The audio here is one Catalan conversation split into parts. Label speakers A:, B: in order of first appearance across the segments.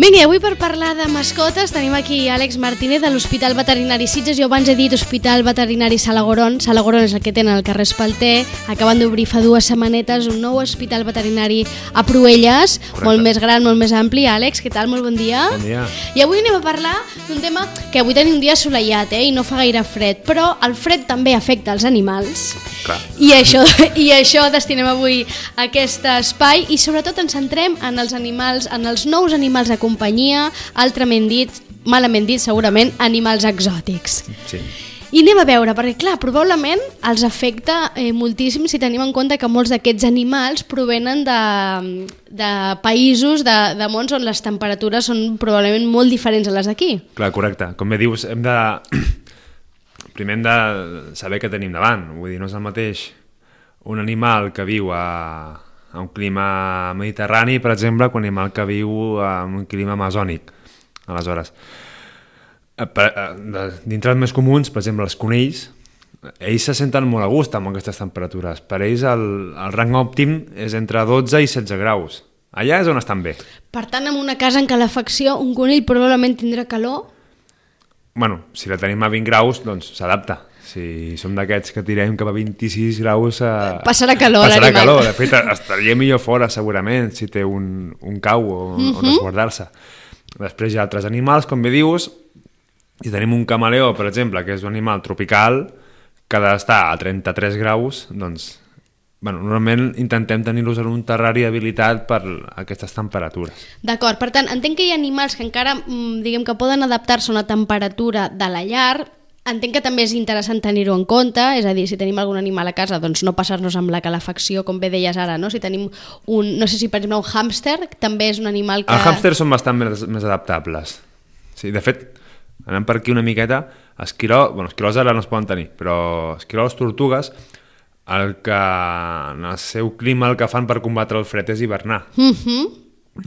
A: Vinga, i avui per parlar de mascotes tenim aquí Àlex Martínez de l'Hospital Veterinari Sitges. Jo abans he dit Hospital Veterinari Salagoron. Salagoron és el que tenen al carrer Espalter. Acaben d'obrir fa dues setmanetes un nou hospital veterinari a Proelles, Correcte. molt més gran, molt més ampli. Àlex, què tal? Molt bon dia.
B: Bon dia.
A: I avui anem a parlar d'un tema que avui tenim un dia assolellat eh, i no fa gaire fred, però el fred també afecta els animals.
B: Clar.
A: I això, I això destinem avui a aquest espai i sobretot ens centrem en els animals, en els nous animals de companyia, altrament dit, malament dit segurament, animals exòtics.
B: Sí.
A: I anem a veure, perquè clar, probablement els afecta eh, moltíssim si tenim en compte que molts d'aquests animals provenen de, de països, de, de mons on les temperatures són probablement molt diferents a les d'aquí.
B: Clar, correcte. Com bé dius, hem de... Primer hem de saber què tenim davant. Vull dir, no és el mateix un animal que viu a, a un clima mediterrani, per exemple, que un animal que viu a un clima amazònic. Aleshores, eh, per, eh, de- dintre dels més comuns, per exemple, els conills, ells se senten molt a gust amb aquestes temperatures. Per ells el, el rang òptim és entre 12 i 16 graus. Allà és on estan bé.
A: Per tant, en una casa en calefacció, un conill probablement tindrà calor
B: bueno, si la tenim a 20 graus, doncs s'adapta. Si som d'aquests que tirem cap a 26 graus... Eh,
A: Passarà calor,
B: Passarà
A: l'animal.
B: calor. De fet, estaria millor fora, segurament, si té un, un cau o, mm -hmm.
A: Mhm.
B: on resguardar-se. Després hi ha altres animals, com bé dius, i tenim un camaleó, per exemple, que és un animal tropical que ha d'estar a 33 graus, doncs, bueno, normalment intentem tenir-los en un terrari habilitat per aquestes temperatures.
A: D'acord, per tant, entenc que hi ha animals que encara, mm, diguem que poden adaptar-se a una temperatura de la llar, entenc que també és interessant tenir-ho en compte, és a dir, si tenim algun animal a casa, doncs no passar-nos amb la calefacció, com bé deies ara, no? Si tenim un, no sé si per exemple un hàmster, que també és un animal que...
B: Els hàmsters són bastant més, més adaptables. Sí, de fet, anant per aquí una miqueta, esquirol, bueno, esquirols ara no es poden tenir, però esquirols, tortugues, el que en el seu clima el que fan per combatre el fred és hivernar.
A: Mm -hmm.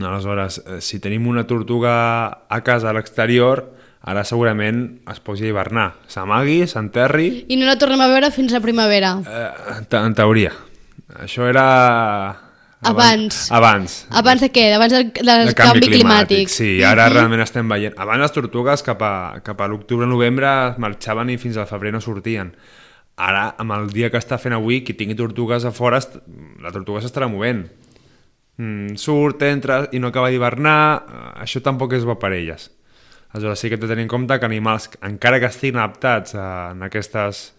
B: Aleshores, eh, si tenim una tortuga a casa a l'exterior, ara segurament es posi a hivernar. S'amagui, s'enterri,
A: I no la tornem a veure fins a primavera.
B: eh, en, te- en teoria. Això era...
A: Abans.
B: Abans.
A: Abans de què? Abans del, del
B: de
A: canvi, climàtic. Mhm.
B: Sí, ara realment estem veient. Abans les tortugues cap a, cap a l'octubre-novembre marxaven i fins al febrer no sortien. Ara, amb el dia que està fent avui, qui tingui tortugues a fora, est- la tortuga s'estarà movent. Mm, surt, entra i no acaba d'hivernar, eh, això tampoc és bo per elles. Aleshores, sí que hem de tenir en compte que animals, encara que estiguin adaptats a, en aquestes,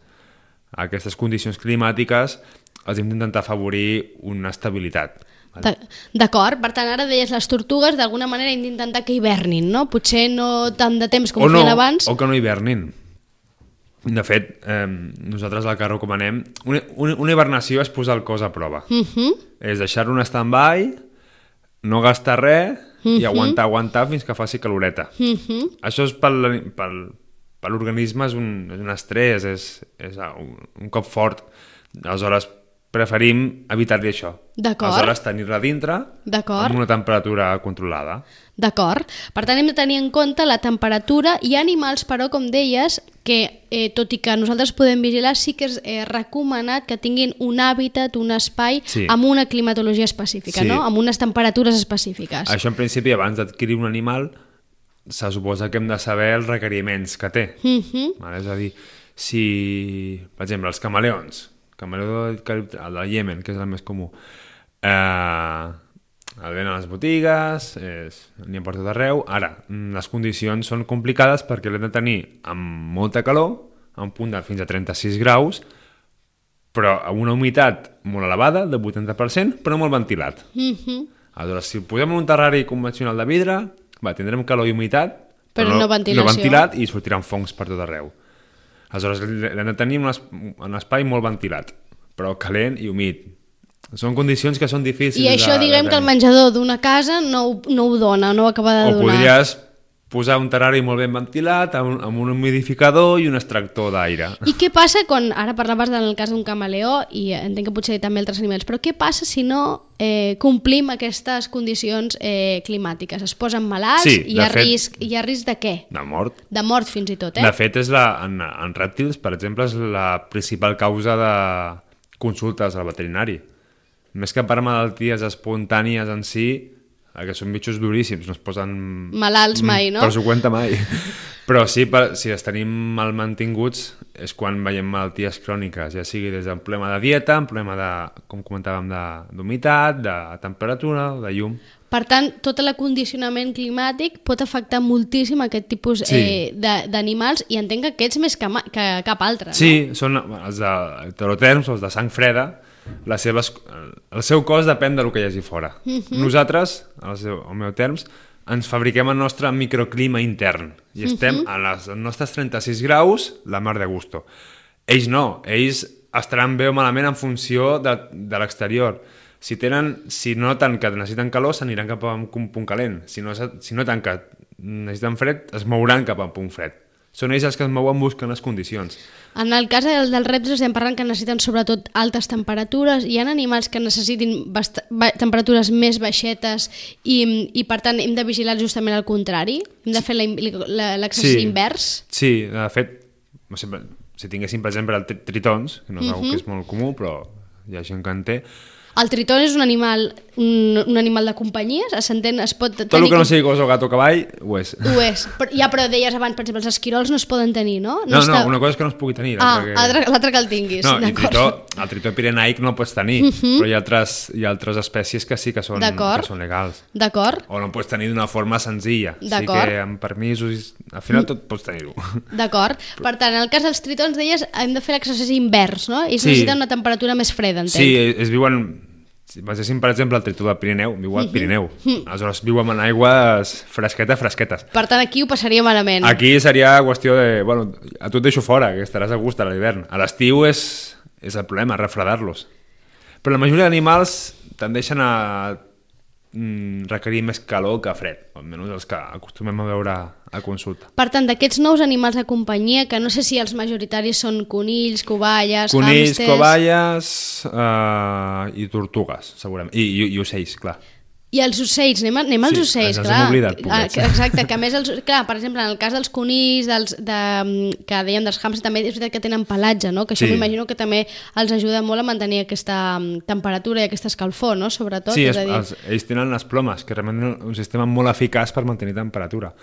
B: a aquestes condicions climàtiques, els hem d'intentar afavorir una estabilitat.
A: D'a- D'acord, per tant, ara deies les tortugues d'alguna manera hem d'intentar que hivernin, no? Potser no tant de temps com
B: o no,
A: feien abans.
B: O que no hivernin. De fet, eh, nosaltres el que recomanem... Una, una, una hibernació és posar el cos a prova. Mm.
A: Mm -hmm.
B: És deixar-lo en stand-by, no gastar res mm -hmm. i aguantar, aguantar fins que faci caloreta. Mm.
A: Mhm. Mm -hmm.
B: Això és pel, pel, per l'organisme és, un, és un estrès, és, és un, un cop fort. Aleshores, preferim evitar-li això.
A: D'acord.
B: Aleshores, tenir-la dintre
A: D'acord.
B: amb una temperatura controlada.
A: D'acord. Per tant, hem de tenir en compte la temperatura. Hi ha animals, però, com deies, que eh, tot i que nosaltres podem vigilar, sí que és eh, recomanat que tinguin un hàbitat, un espai,
B: Sí.
A: amb una climatologia específica,
B: Sí.
A: no? amb unes temperatures específiques.
B: Això, en principi, abans d'adquirir un animal, se suposa que hem de saber els requeriments que té.
A: Mm -hmm.
B: Vale? És a dir, si, per exemple, els camaleons, el camaleó del Carib, el del Yemen, que és el més comú, eh, el venen a les botigues, és, n'hi ha per tot arreu. Ara, mm, les condicions són complicades perquè l'hem de tenir amb molta calor, a un punt de fins a 36 graus, però amb una humitat molt elevada, de 80%, però molt ventilat.
A: Mm -hmm.
B: Aleshores, si ho posem en un terrari convencional de vidre, va, tindrem calor i humitat,
A: Però no ventilació.
B: no ventilat i sortiran fongs per tot arreu. Aleshores, l'hem de tenir en un es- un espai molt ventilat, però calent i humit. Són condicions que són difícils
A: I això,
B: de,
A: diguem
B: de
A: que el
B: tenir.
A: menjador d'una casa no, ho- no ho dona, no ho acaba de
B: O
A: donar.
B: podries posar un terrari molt ben ventilat amb, amb un humidificador i un extractor d'aire.
A: I què passa quan, ara parlaves del cas d'un camaleó i entenc que potser també altres animals, però què passa si no eh, complim aquestes condicions eh, climàtiques? Es posen malalts
B: Sí,
A: i
B: de
A: hi ha,
B: fet-
A: risc, hi ha risc de què?
B: De mort.
A: De mort fins i tot, eh?
B: De fet, és la, en, en rèptils, per exemple, és la principal causa de consultes al veterinari. Més que per malalties espontànies en si, eh, que són bitxos duríssims, no es posen... Mm,
A: Malalts mai, no?
B: Per s'ho cuenta mai. Però sí, per, si els tenim mal mantinguts és quan veiem malalties cròniques, ja sigui des d'un problema de dieta, un problema de, com comentàvem, de- d'humitat, de, de temperatura, de llum...
A: Per tant, tot l'acondicionament climàtic pot afectar moltíssim aquest tipus
B: Sí.
A: eh, de- d'animals i entenc que aquests més que, ma- que cap altre. no?
B: Sí, són els de heteroterms, els de sang freda, les seves, el seu cos depèn del que hi hagi fora. Nosaltres, al seu, al meu terms, ens fabriquem el nostre microclima intern i estem a les nostres 36 graus la mar de gusto. Ells no, ells estaran bé o malament en funció de, de l'exterior. Si, tenen, si noten que necessiten calor, s'aniran cap a un punt calent. Si, no, si noten que necessiten fred, es mouran cap a un punt fred. Són ells els que es mouen buscant les condicions.
A: En el cas del, dels rèptils estem parlant que necessiten sobretot altes temperatures, hi ha animals que necessitin bast- ba temperatures més baixetes i, i per tant hem de vigilar justament el contrari, hem de fer la in- la- l'exercici sí. invers.
B: Sí, de fet, no sé, si tinguéssim, per exemple, el tri- tritons, que no és mm -hmm.
A: Mhm.
B: que és molt comú, però hi ha gent que en té,
A: El tritó és un animal, un, un animal de companyia, es, s'entén, es pot tenir...
B: tot el que
A: com-
B: no sigui gos o gat o cavall, ho és.
A: Ho és. Però, ja, però deies abans, per exemple, els esquirols no es poden tenir, no?
B: No,
A: està-
B: no, una cosa és que no es pugui tenir.
A: Ah,
B: l'altra que...
A: l'altre- l'altre que el tinguis,
B: No, i
A: d'acord. Mhm.
B: tritó, el tritó pirenaic no el pots tenir, mm -hmm. però hi ha, altres, hi ha altres espècies que sí que són,
A: D'acord.
B: que són legals.
A: D'acord,
B: O no pots tenir d'una forma senzilla. Sí
A: D'acord. Mm.
B: que amb permisos... i- Al final tot pots tenir-ho.
A: d'acord. Per tant, en el cas dels tritons, deies, hem de fer l'exercici invers, no? Ells
B: Sí.
A: necessiten una temperatura més freda, entenc.
B: Sí, es, es viuen... Si penséssim, per exemple, el tritó del Pirineu, viu
A: Mhm.
B: al Pirineu. Aleshores, viuen en aigües fresquetes, fresquetes.
A: Per tant, aquí ho passaria malament.
B: Aquí seria qüestió de... Bueno, a tu et deixo fora, que estaràs a gust a l'hivern. A l'estiu és, és el problema, refredar-los. Però la majoria d'animals tendeixen a mm, requerir més calor que fred, almenys els que acostumem a veure a consulta.
A: Per tant, d'aquests nous animals de companyia, que no sé si els majoritaris són conills, covalles,
B: Conills,
A: hàmsters...
B: covalles eh, i tortugues, segurament. I, i, i ocells, clar.
A: I els ocells, anem, a- anem als
B: Sí,
A: ocells,
B: ens els
A: clar.
B: hem oblidat,
A: Ah,
B: pobrets.
A: que- Exacte, que a més, els, clar, per exemple, en el cas dels conills, dels, de, que dèiem dels hams, també és veritat que tenen pelatge, no? que això
B: Sí.
A: m'imagino que també els ajuda molt a mantenir aquesta mm, temperatura i aquesta escalfor, no? sobretot.
B: Sí,
A: és
B: es,
A: a dir,
B: els, ells tenen les plomes, que realment és un sistema molt eficaç per mantenir temperatura.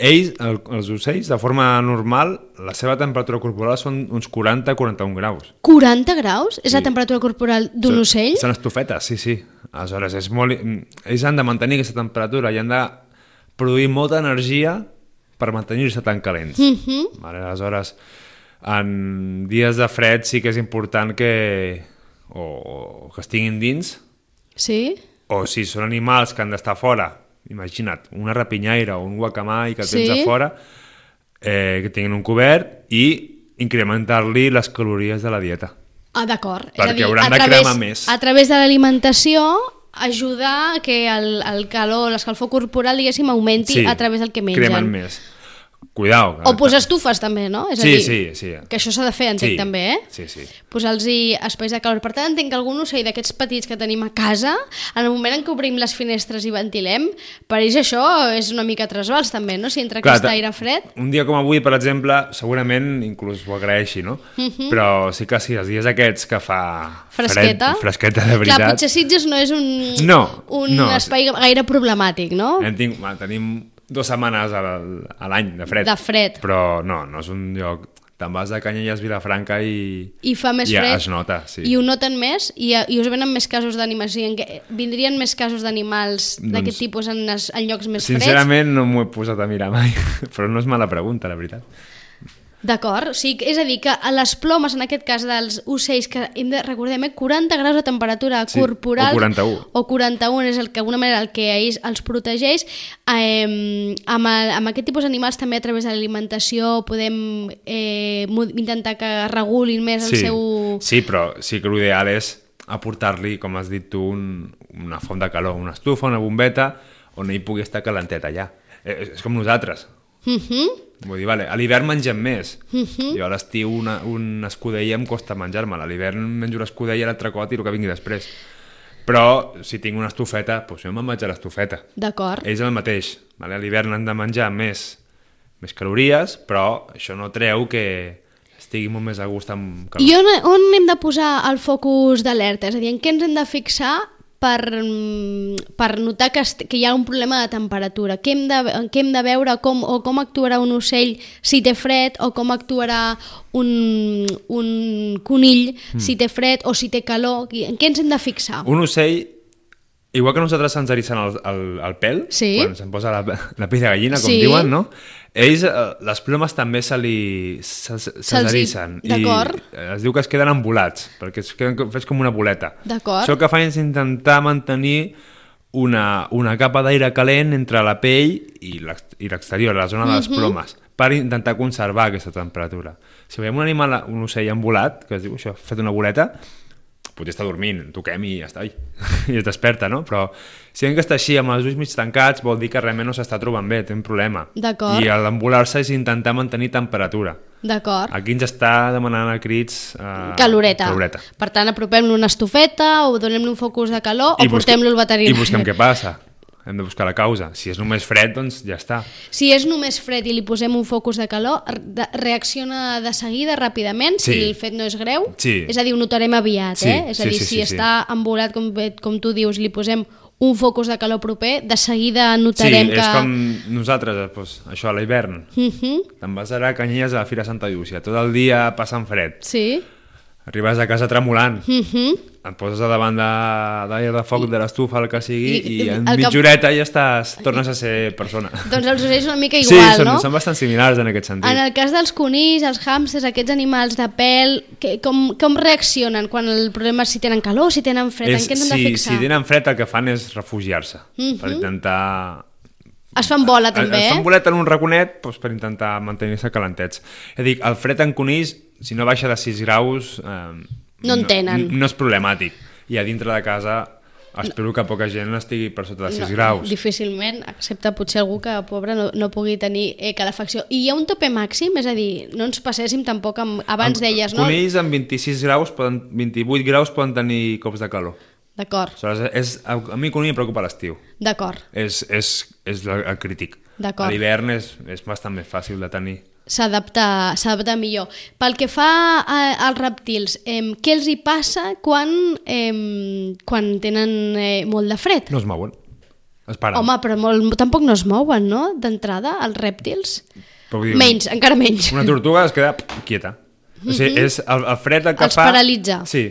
B: Ells, el, els ocells, de forma normal, la seva temperatura corporal són uns 40-41 graus.
A: 40 graus és la
B: Sí.
A: temperatura corporal d'un
B: Són-
A: ocell?
B: Són estufetes, sí, sí. Aleshores, és molt... ells han de mantenir aquesta temperatura i han de produir molta energia per mantenir-se tan calents. Mm
A: Mhm.
B: -hmm. vale, aleshores, en dies de fred sí que és important que, o, o que estiguin dins,
A: Sí?
B: o si són animals que han d'estar fora, imagina't, una rapinyaire o un guacamai que el
A: Sí.
B: tens a fora, eh, que tinguin un cobert i incrementar-li les calories de la dieta.
A: Ah, d'acord. És a
B: Perquè
A: dir,
B: hauran
A: a
B: de
A: través-
B: cremar més.
A: A través de l'alimentació ajudar que el, el calor, l'escalfor corporal, diguéssim, augmenti a través del que mengen.
B: Cremen més. Cuidao. que-
A: O posar estufes també, no? És a
B: Sí,
A: dir,
B: sí, sí.
A: Que això s'ha de fer, entenc
B: Sí,
A: també, eh?
B: Sí, sí.
A: Posar-los espais de calor. Per tant, entenc que algun ocell d'aquests petits que tenim a casa, en el moment en què obrim les finestres i ventilem, per ells això és una mica trasbals també, no? Si entra Clar, aquest
B: ta-
A: aire fred...
B: Un dia com avui, per exemple, segurament inclús ho agraeixi, no?
A: Mhm.
B: Però sí que sí, els dies aquests que fa
A: Fresqueta.
B: Fred, fresqueta de veritat.
A: Clar, potser Sitges no és un,
B: No,
A: un
B: no. Eh,
A: espai gaire problemàtic, no?
B: Hem tinc, va, tenim dues setmanes al- a l'any de fred.
A: De fred.
B: Però no, no és un lloc... Te'n vas de Canyelles, Vilafranca i...
A: I fa més
B: I
A: fred.
B: es nota, sí.
A: I ho noten més i, eh, i us venen més casos d'animals. O sigui, en què- vindrien més casos d'animals d'aquest
B: Doncs-
A: tipus en, es- en llocs més freds?
B: Sincerament no m'ho he posat a mirar mai, però no és mala pregunta, la veritat.
A: D'acord, o sigui, és a dir, que a les plomes, en aquest cas dels ocells, que hem de, recordem, eh, 40 graus de temperatura
B: Sí,
A: corporal...
B: o 41.
A: O 41 és el que, d'alguna manera, el que a ells els protegeix. Eh, amb, el, amb aquest tipus d'animals, també a través de l'alimentació, podem eh, mo- intentar que regulin més el
B: sí,
A: seu...
B: sí, però sí que l'ideal és aportar-li, com has dit tu, un, una font de calor, una estufa, una bombeta, on ell pugui estar calenteta allà. eh, és com nosaltres.
A: Mm -hmm.
B: Vull dir, vale, a l'hivern mengem més. Uh -huh. Jo a l'estiu una, una escudella em costa menjar-me-la. A l'hivern menjo l'escudella, l'altre cot i el que vingui després. Però si tinc una estufeta, doncs jo me'n vaig a l'estufeta.
A: D'acord.
B: És el mateix. Vale? A l'hivern han de menjar més, més calories, però això no treu que estigui molt més a gust amb calor.
A: I on, on hem de posar el focus d'alerta? És a dir, en què ens hem de fixar per, mm, per notar que, est- que hi ha un problema de temperatura? Què hem de, en què hem de veure com, o com actuarà un ocell si té fred o com actuarà un, un conill si té fred o si té calor? I En què ens hem de fixar?
B: Hmm. Un ocell, igual que nosaltres ens erissen el, el, el pèl,
A: Sí.
B: quan se'n posa la, la pell de gallina, com
A: Sí.
B: diuen, no? Ells, eh, les plomes també se li se, se, se
A: Se'ls hi-
B: erissen. I eh,
A: d'acord.
B: es diu que es queden embolats, perquè es queden com- fes com una boleta.
A: D'acord.
B: Això el que fa és intentar mantenir una, una capa d'aire calent entre la pell i l'ex- i l'exterior, la zona de les
A: Mhm.
B: plomes, per intentar conservar aquesta temperatura. Si veiem un animal, un ocell embolat, que es diu això, fet una boleta, potser està dormint, toquem i ja està, i, i es desperta, no? Però si veiem que està així, amb els ulls mig tancats, vol dir que realment no s'està trobant bé, té un problema.
A: D'acord.
B: I l'embolar-se és intentar mantenir temperatura.
A: D'acord.
B: Aquí ens està demanant a crits... Eh,
A: Caloreta.
B: Ah, caloreta.
A: Per tant, apropem-lo una estufeta o donem-li un focus de calor o
B: busque-
A: portem-lo al veterinari.
B: I busquem què passa. Hem de buscar la causa. Si és només fred, doncs ja està.
A: Si és només fred i li posem un focus de calor, re- de- reacciona de seguida, ràpidament, sí.
B: Sí.
A: si el fet no és greu.
B: Sí.
A: És a dir, ho notarem aviat,
B: Sí,
A: eh? És a
B: sí,
A: dir,
B: sí,
A: si
B: sí, sí.
A: està embolat, com, bé- com tu dius, li posem un focus de calor proper, de seguida notarem
B: sí,
A: que...
B: és com nosaltres, eh, doncs, això a l'hivern.
A: Uh -huh.
B: Te'n vas a la canyelles a la Fira Santa Llúcia, tot el dia passant fred.
A: Sí.
B: Arribes a casa tremolant.
A: Uh -huh.
B: Et poses a davant de, de, de foc, de l'estufa, el que sigui,
A: I-
B: i, i en
A: el que-
B: mitja horeta ja estàs, tornes a ser persona.
A: Doncs els ocells una mica
B: sí,
A: igual,
B: són,
A: no?
B: són bastant similars en aquest sentit.
A: En el cas dels conills, els hàmsters, aquests animals de pèl, que, com, com reaccionen quan el problema és si tenen calor, si tenen fred, en què ens hem
B: si,
A: de fixar?
B: si tenen fred el que fan és refugiar-se
A: Mhm.
B: per intentar
A: Es fan bola, també,
B: es, es fan
A: eh?
B: bolet en un raconet doncs, per intentar mantenir-se calentets ja dic, el fred en conills si no baixa de 6 graus eh,
A: No en tenen.
B: no, no és problemàtic i a dintre de casa espero que poca gent estigui per sota de 6 graus
A: Difícilment, excepte potser algú que, pobre, no, no pugui tenir eh, calefacció. I hi ha un tope màxim? És a dir, no ens passéssim tampoc amb... Abans
B: Amb-
A: deies, no?
B: Conills amb 26 graus, poden, 28 graus poden tenir cops de calor.
A: D'acord,
B: Aleshores, és, a, a mi conill em preocupa l'estiu.
A: d'acord.
B: És, és, és el, el crític.
A: D'acord.
B: A l'hivern és, és bastant més fàcil de tenir.
A: S'adapta s'adapta millor. Pel que fa a, als reptils, eh, què els hi passa quan, eh, quan tenen eh, molt de fred?
B: No es mouen. Es paren.
A: Home, però molt, tampoc no es mouen, no?, d'entrada, els rèptils.
B: Però vull dir,
A: Menys, encara menys.
B: Una tortuga es queda quieta. O sigui, és el, el fred el que
A: Els
B: fa...
A: paralitza.
B: Sí.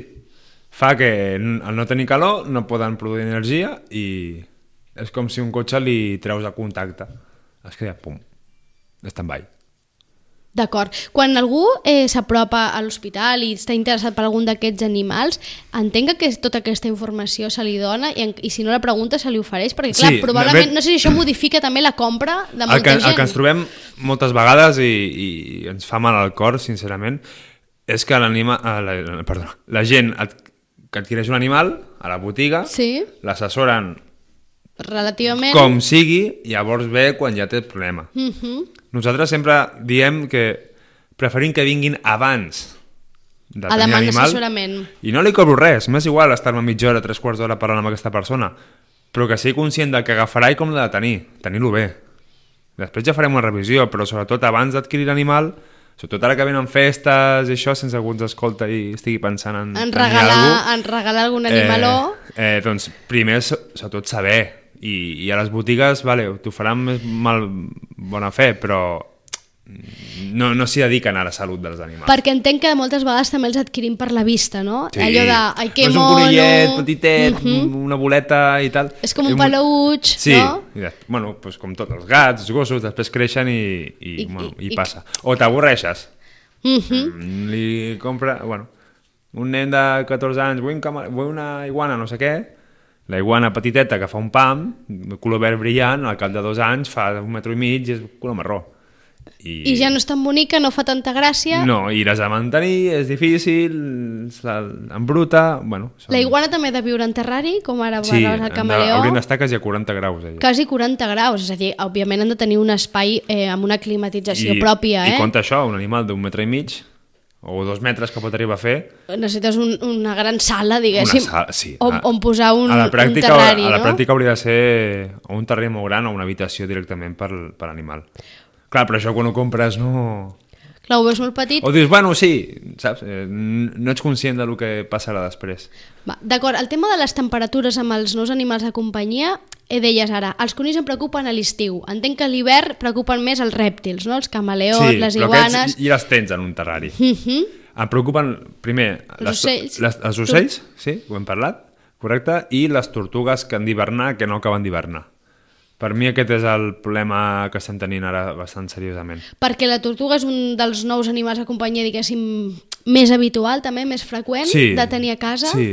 B: Fa que n- al no tenir calor no poden produir energia i és com si un cotxe li treus a contacte. Es queda, pum, stand-by.
A: D'acord. Quan algú eh, s'apropa a l'hospital i està interessat per algun d'aquests animals, entenc que tota aquesta informació se li dona i, en, i si no la pregunta se li ofereix, perquè clar,
B: Sí,
A: probablement,
B: ve-
A: no sé si això modifica també la compra de molta
B: el que,
A: gent.
B: El que ens trobem moltes vegades i, i ens fa mal al cor, sincerament, és que l'anima... ah, La, la- perdó, la gent ad, que adquireix un animal a la botiga,
A: Sí, Eh.
B: l'assessoren
A: relativament.
B: com sigui, i llavors ve quan ja té el problema.
A: Mm -hmm.
B: Nosaltres sempre diem que preferim que vinguin abans de
A: A
B: tenir
A: demanar
B: animal.
A: assessorament.
B: I no li cobro res, m'és igual estar-me mitja hora, tres quarts d'hora parlant amb aquesta persona, però que sigui conscient del que agafarà i com l'ha de tenir, tenir-lo bé. Després ja farem una revisió, però sobretot abans d'adquirir l'animal, sobretot ara que venen festes i això, sense que algú ens escolta i estigui pensant en,
A: En
B: tenir Mm, algú,
A: regalar, en regalar algun animaló...
B: Eh, eh, doncs primer, so- sobretot, saber. I, I a les botigues, vale, t'ho faran més mal bona fe, però no, no s'hi dediquen a la salut dels animals.
A: Perquè entenc que moltes vegades també els adquirim per la vista, no? Allò de, ai, que
B: no és
A: mono...
B: un conillet petitet,
A: Mhm.
B: una boleta i tal.
A: És com un peluig,
B: sí.
A: no?
B: I de, bueno, doncs com tots els gats, els gossos, després creixen i, i,
A: I-
B: I, bueno,
A: i-
B: i,
A: i-
B: passa. O t'avorreixes.
A: Mhm.
B: Mm, li compra, bueno, un nen de 14 anys, vull, un cama- vull una iguana, no sé què, la iguana petiteta que fa un pam, de color verd brillant, al cap de dos anys fa un metro i mig i és color marró. I,
A: I ja no és tan bonica, no fa tanta gràcia.
B: No, i l'has de mantenir, és difícil, se embruta... Bueno, són-
A: La iguana també ha de viure en terrari, com ara
B: sí,
A: va el
B: han de-
A: camaleó.
B: haurien d'estar quasi a 40 graus. Allà.
A: quasi 40 graus, és a dir, òbviament han de tenir un espai eh, amb una climatització pròpia, eh?
B: I compta això, un animal d'un metre i mig, o dos metres que pot arribar a fer...
A: Necessites un, una gran sala, diguéssim,
B: Una sala, sí.
A: on,
B: A-
A: on posar un,
B: a la pràctica,
A: un terrari,
B: a la
A: no?
B: pràctica hauria de ser o un terrari molt gran o una habitació directament per, per animal. Clar, però això quan ho compres no...
A: Clar, ho veus molt petit.
B: O dius, bueno, sí, saps? Eh, n- No ets conscient del que passarà després.
A: Va, D'acord, el tema de les temperatures amb els nous animals de companyia, eh, deies ara, els conills em preocupen a l'estiu. Entenc que a l'hivern preocupen més els rèptils, no? Els camaleons, les
B: però aquests
A: iguanes... Mhm.
B: i- I les tens en un terrari. Em preocupen, primer,
A: Els
B: les,
A: ocells.
B: Les, els ocells, sí, ho hem parlat, correcte, i les tortugues que han d'hivernar que no acaben d'hivernar. Per mi aquest és el problema que estem tenint ara bastant seriosament.
A: Perquè la tortuga és un dels nous animals de companyia, diguéssim, més habitual també, més freqüent de tenir a casa.
B: Sí.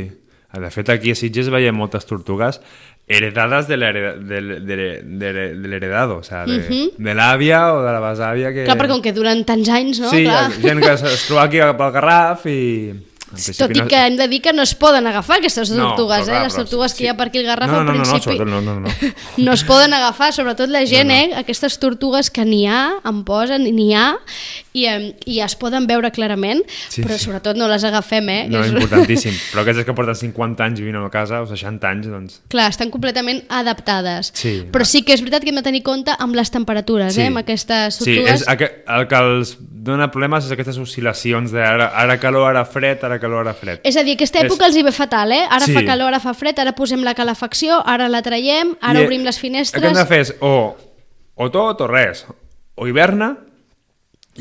B: De fet, aquí a Sitges veiem moltes tortugues heredades de l'heredado, de, de, de, de, l'heredado, o sea, de, de l'àvia o de la besàvia que...
A: Mhm. Clar, però com que duren tants anys, no?
B: Sí,
A: Clar.
B: gent que es, es troba aquí pel Garraf i... en
A: Tot
B: principi
A: i que hem de dir que no es poden agafar aquestes tortugues,
B: però clar,
A: eh? Les
B: però
A: tortugues
B: sí.
A: que hi ha per aquí al Garraf
B: no,
A: al
B: no, no,
A: principi
B: No, no, no, no, no.
A: no es poden agafar, sobretot la gent, eh? Aquestes tortugues que n'hi ha, en posen, n'hi ha, i, em, i es poden veure clarament,
B: Sí,
A: però
B: sí.
A: sobretot no les agafem, eh?
B: No,
A: És-
B: és importantíssim. Però aquestes que porten 50 anys vivint a casa, o 60 anys, doncs...
A: Clar, estan completament adaptades.
B: Sí.
A: Però sí que és veritat que hem de tenir compte amb les temperatures, eh? Amb aquestes
B: Sí,
A: tortugues.
B: és aqu... el que els dona problemes és aquestes oscil·lacions de ara, ara calor, ara fred, ara calor, ara fred.
A: És a dir, aquesta
B: És-
A: època els hi ve fatal, eh? Ara
B: Sí.
A: fa calor, ara fa fred, ara posem la calefacció, ara la traiem, ara
B: I,
A: obrim les
B: El que hem de
A: finestres...
B: fer és o, o tot o res. O hiverna,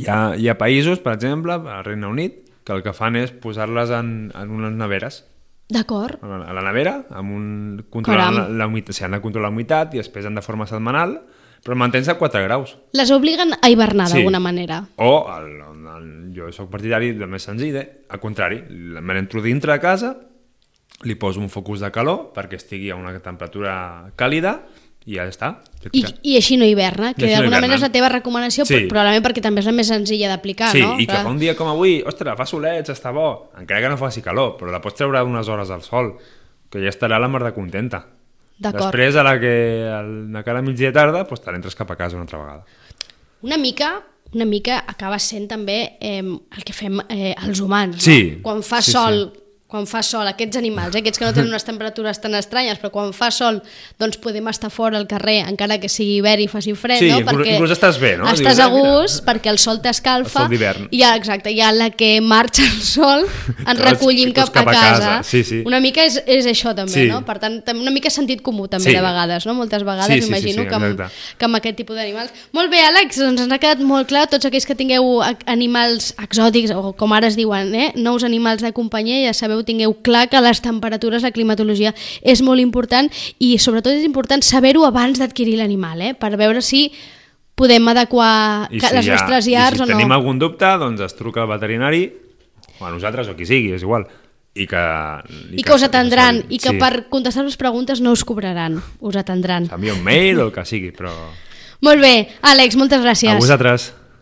B: hi ha, hi ha països, per exemple, al Regne Unit, que el que fan és posar-les en, en unes neveres.
A: D'acord.
B: a la- a la nevera, amb un... controlant la,
A: Caram.
B: la humitat, o sigui, han de controlar la humitat i després han de forma setmanal, però mantens a 4 graus.
A: Les obliguen a hivernar
B: Sí.
A: d'alguna manera.
B: O, el, el, jo sóc partidari del més senzill, eh? al contrari, me l'entro dintre de casa, li poso un focus de calor perquè estigui a una temperatura càlida i ja està.
A: I, I així no hiverna,
B: I
A: que
B: així no
A: d'alguna
B: hivernen.
A: manera és la teva recomanació,
B: Sí.
A: sí. probablement perquè també és la més senzilla d'aplicar,
B: sí,
A: Ah, no?
B: i que
A: Clar.
B: fa un dia com avui, ostres, fa solets, està bo, encara que no faci calor, però la pots treure unes hores al sol, que ja estarà la mar de contenta.
A: D'acord.
B: Després, a la que al- de cara a migdia tarda, doncs te n'entres cap a casa una altra vegada.
A: Una mica una mica acaba sent també eh, el que fem eh, els humans,
B: Sí.
A: no? Quan fa
B: Sí,
A: sol, quan fa sol, aquests animals, eh, aquests que no tenen unes temperatures tan estranyes, però quan fa sol, doncs podem estar fora al carrer, encara que sigui hivern i faci fred,
B: Sí,
A: no?
B: inclús- inclús estàs bé, no?
A: Estàs
B: Dius,
A: a
B: "Ah, mira,
A: gust perquè el sol t'escalfa.
B: el sol d'hivern."
A: I ja, exacte, ja la que marxa el sol ens
B: Tots-
A: recollim
B: tots
A: cap, a casa.
B: Sí, sí.
A: Una mica és, és això també,
B: Sí.
A: no? Per tant, tam- una mica sentit comú també
B: Sí.
A: de vegades, no? Moltes vegades
B: Sí, sí, sí,
A: imagino
B: sí,
A: que, amb,
B: exacte.
A: que amb aquest tipus d'animals. Molt bé, Àlex, doncs ens ha quedat molt clar tots aquells que tingueu a- animals exòtics, o com ara es diuen, eh? nous animals de companyia, ja sabeu, tingueu clar que les temperatures, la climatologia és molt important i sobretot és important saber-ho abans d'adquirir l'animal, eh? per veure si podem adequar
B: I
A: ca- Ah, les
B: hi ha-
A: nostres llars
B: i si
A: o no.
B: tenim algun dubte, doncs es truca al veterinari, o a nosaltres, o qui sigui, és igual. I que,
A: I que us atendran, i que
B: sí.
A: per contestar les preguntes no us cobraran, us atendran.
B: S'envia un mail o el que sigui, però...
A: Molt bé, Àlex, moltes gràcies.
B: A vosaltres.